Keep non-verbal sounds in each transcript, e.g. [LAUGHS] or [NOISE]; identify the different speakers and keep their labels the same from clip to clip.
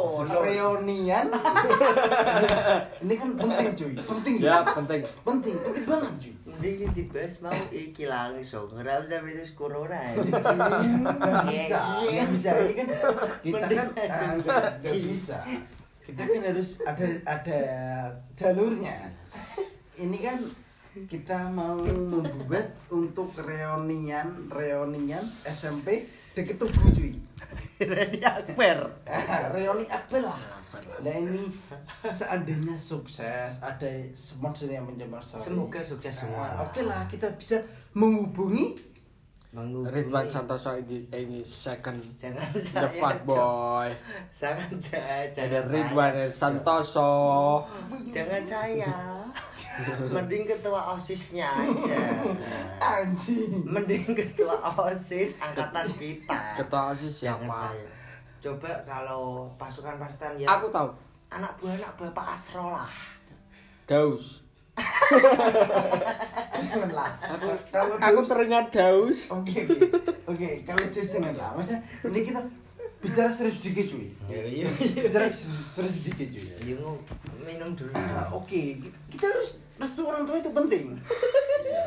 Speaker 1: sono.
Speaker 2: reunian [LAUGHS] ini kan penting cuy penting
Speaker 3: Ya, penting.
Speaker 2: penting penting banget cuy
Speaker 1: Mending ini dibahas mau iki lagi so. Ora usah virus corona. ya.
Speaker 2: nggak bisa nggak bisa ini kan kita kan
Speaker 1: Mending langsung
Speaker 2: ah, nggak nggak bisa kita kan harus ada ada jalurnya ini kan kita mau membuat untuk reunian reunian SMP deket tubuh cuy
Speaker 1: Ini akbar.
Speaker 2: [LAUGHS] Ah, reuni apa lah nah ini seandainya sukses ada semua dunia yang menjamur
Speaker 1: Semoga sukses semua.
Speaker 2: Ah, oke lah kita bisa menghubungi
Speaker 1: Menghubungi-
Speaker 3: Ridwan Santoso ini, ini
Speaker 1: [LAUGHS]
Speaker 3: second
Speaker 1: Jangan
Speaker 3: the
Speaker 1: saya,
Speaker 3: fuck boy.
Speaker 1: Cok. Jangan saya,
Speaker 3: Ada
Speaker 1: jangan saya.
Speaker 3: Ridwan Santoso.
Speaker 1: Jangan saya. Mending ketua OSISnya aja.
Speaker 2: anjing
Speaker 1: Mending ketua OSIS angkatan kita.
Speaker 3: Ketua OSIS
Speaker 1: Jangan
Speaker 3: siapa?
Speaker 1: saya. Coba kalau pasukan pasukan ya
Speaker 3: Aku tahu.
Speaker 1: anak buah anak bapak Asrolah.
Speaker 3: Daus.
Speaker 2: jangan lah
Speaker 3: Aku,
Speaker 2: Kalau
Speaker 3: aku
Speaker 2: Daus-
Speaker 3: teringat Daus.
Speaker 2: oke oke oke kalau James jangan lah maksudnya ini kita bicara serius dikit cuy
Speaker 1: Iya
Speaker 2: bicara serius dikit cuy
Speaker 1: minum dulu.
Speaker 2: Nah, oke kita harus restu orang tua itu penting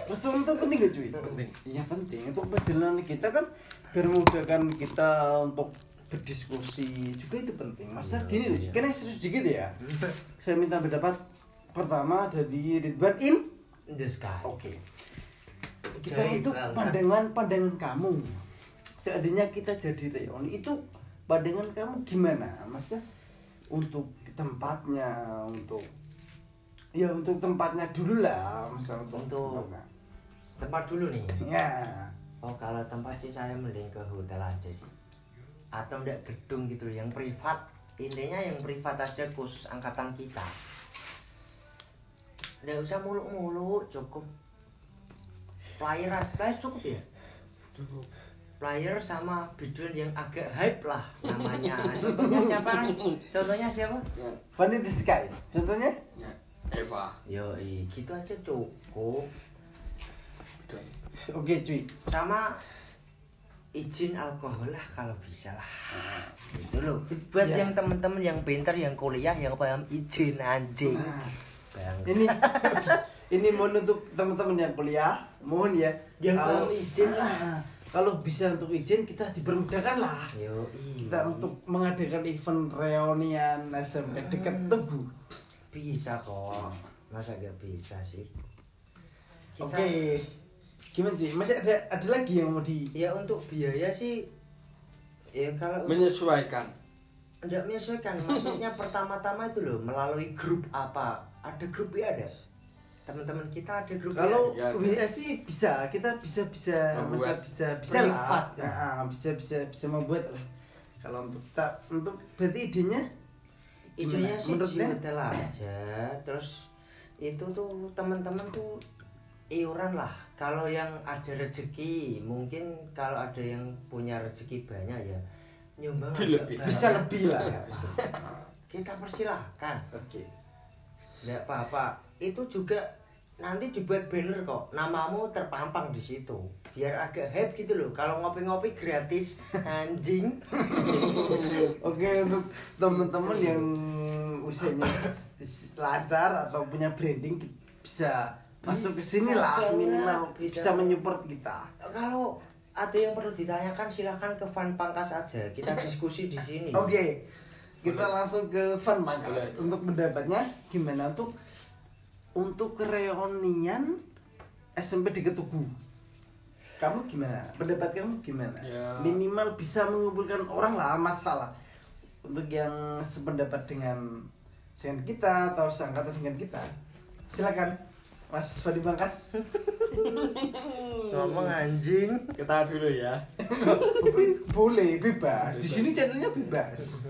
Speaker 2: restu orang tua penting gak cuy penting iya penting untuk perjalanan kita kan biar memudahkan kita untuk berdiskusi juga itu penting masa gini loh Cuy. karena serius dikit ya saya minta pendapat pertama dari Ridwan In
Speaker 1: In the sky.
Speaker 2: oke kita
Speaker 1: Dari
Speaker 2: itu
Speaker 1: berangkat.
Speaker 2: pandangan pandangan kamu seandainya kita jadi reuni itu pandangan kamu gimana maksudnya untuk tempatnya untuk ya untuk tempatnya dulu lah misalnya untuk,
Speaker 1: Untuk-
Speaker 2: tempatnya.
Speaker 1: Tempat dulu nih.
Speaker 2: ya
Speaker 1: Oh kalau tempat sih saya mending ke hotel aja sih Atau enggak gedung gitu yang privat Intinya yang privat aja khusus angkatan kita Enggak usah muluk-muluk cukup Flyer aja, flyer cukup ya? Flyer sama biduan yang agak hype lah namanya Contohnya siapa? Ran? Contohnya siapa?
Speaker 2: Fun in the sky contohnya
Speaker 3: Ya, Eva.
Speaker 1: Yoi, gitu aja cukup
Speaker 2: oke cuy
Speaker 1: Sama izin alkohol lah kalau bisa lah gitu loh buat
Speaker 2: Iya.
Speaker 1: yang temen-temen yang pinter yang kuliah yang paham izin anjing
Speaker 2: Nah,
Speaker 1: Bang.
Speaker 2: ini [LAUGHS] ini mohon untuk teman-teman yang kuliah mohon ya
Speaker 1: Yang
Speaker 2: kalau
Speaker 1: belum izin lah.
Speaker 2: Ah, kalau bisa untuk izin kita dipermudahkan lah
Speaker 1: yo
Speaker 2: kita untuk mengadakan event reunian SMP dekat tubuh.
Speaker 1: bisa kok masa gak bisa sih Kita-
Speaker 2: Oke. Gimana sih? Masih ada ada lagi yang mau di
Speaker 1: ya untuk biaya sih ya kalau
Speaker 3: Menyesuaikan.
Speaker 1: tidak menyesuaikan maksudnya pertama-tama itu loh melalui grup apa ada grup ya ada teman-teman kita ada grup
Speaker 2: kalau
Speaker 3: Ya, ada.
Speaker 2: WA sih bisa, kita bisa bisa masa
Speaker 3: Membuat
Speaker 2: bisa bisa
Speaker 1: privat.
Speaker 2: lah. Nah, bisa bisa bisa membuat lah. Kalau untuk kita untuk berarti idenya
Speaker 1: idenya
Speaker 2: Gimana?
Speaker 1: sih
Speaker 2: Menurut
Speaker 1: di
Speaker 2: Nen?
Speaker 1: hotel aja terus itu tuh teman-teman tuh iuran lah kalau yang ada rezeki mungkin kalau ada yang punya rezeki banyak ya nyumbang agak
Speaker 3: Dilebih.
Speaker 1: banyak.
Speaker 2: bisa lebih lah. ya, Bisa.
Speaker 1: kita persilahkan
Speaker 2: Oke.
Speaker 1: nggak apa-apa itu juga nanti dibuat banner kok namamu terpampang di situ biar agak hype gitu loh kalau ngopi-ngopi gratis [LAUGHS] anjing
Speaker 2: Oke untuk teman-teman yang usianya s- s- lancar atau punya branding bisa masuk ke sini lah
Speaker 1: banget,
Speaker 2: minimal
Speaker 1: bisa.
Speaker 2: bisa menyupport kita.
Speaker 1: kalau ada yang perlu ditanyakan silahkan ke fan pangkas aja kita diskusi di sini
Speaker 2: Oke, kita langsung ke Fun Mangkas. Untuk pendapatnya gimana untuk untuk reunian SMP di Ketugu? Kamu gimana? Pendapat kamu gimana?
Speaker 3: Ya.
Speaker 2: Minimal bisa mengumpulkan orang lah masalah. Untuk yang sependapat dengan dengan kita atau seangkatan dengan kita, silakan Mas Fadi Mangkas.
Speaker 1: ngomong anjing
Speaker 3: Kita dulu ya.
Speaker 2: Boleh bebas. Di sini channelnya bebas.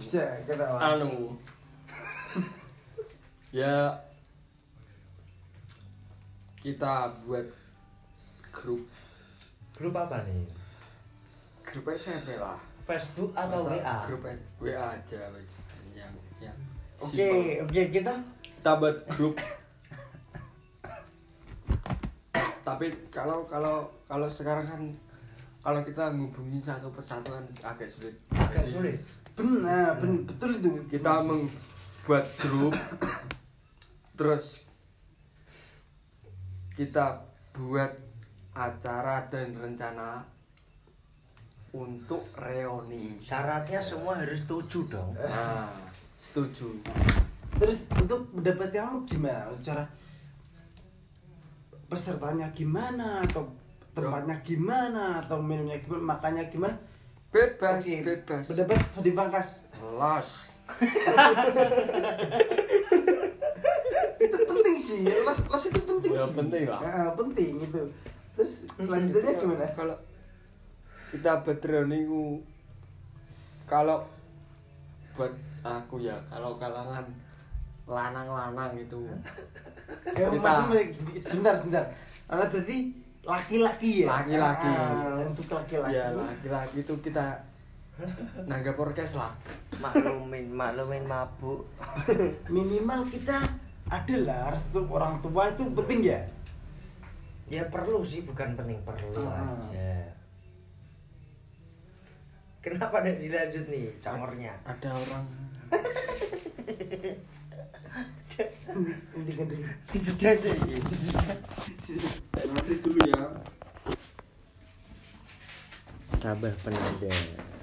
Speaker 2: Bisa ketawa.
Speaker 3: anu ya kita buat grup
Speaker 1: grup apa nih
Speaker 3: grup SMP lah
Speaker 1: Facebook atau
Speaker 3: Masa
Speaker 1: WA
Speaker 3: grup S- WA aja wes. yang yang
Speaker 2: Oke,
Speaker 3: simple.
Speaker 2: oke kita
Speaker 3: kita buat grup tapi kalau kalau kalau sekarang kan kalau kita menghubungi satu persatu kan agak sulit
Speaker 1: agak
Speaker 3: Jadi,
Speaker 1: sulit
Speaker 2: benar ben- betul itu
Speaker 3: Iya. kita membuat grup terus kita buat acara dan rencana untuk reuni
Speaker 1: Syaratnya semua harus setuju dong.
Speaker 3: nah setuju
Speaker 2: terus untuk mendapatkan gimana cara pesertanya gimana atau tempatnya gimana atau minumnya gimana makannya gimana
Speaker 3: bebas
Speaker 2: Oke,
Speaker 3: bebas
Speaker 2: pendapat Fadi Pangkas
Speaker 3: los
Speaker 2: itu penting sih les les itu penting
Speaker 3: Ya,
Speaker 2: sih
Speaker 3: penting lah.
Speaker 2: Nah, penting itu terus lanjutannya gimana
Speaker 3: kalau kita bertraining kalau buat aku ya kalau kalangan lanang-lanang itu
Speaker 2: eh,
Speaker 3: Kita-
Speaker 2: maksudnya sebentar sebentar Alah, berarti laki-laki ya
Speaker 3: Laki-laki.
Speaker 2: Ah, untuk laki-laki
Speaker 3: ya laki-laki itu kita nanggap orkes lah
Speaker 1: Maklumin, maklumin mabuk.
Speaker 2: minimal kita adalah restu orang tua itu penting ya
Speaker 1: Ya perlu sih, bukan penting perlu
Speaker 2: Ah.
Speaker 1: aja. Kenapa ada dilanjut nih camornya?
Speaker 3: ada orang
Speaker 2: intikan dulu
Speaker 1: Sudah sih.
Speaker 3: nanti dulu ya
Speaker 1: Tabah penanda.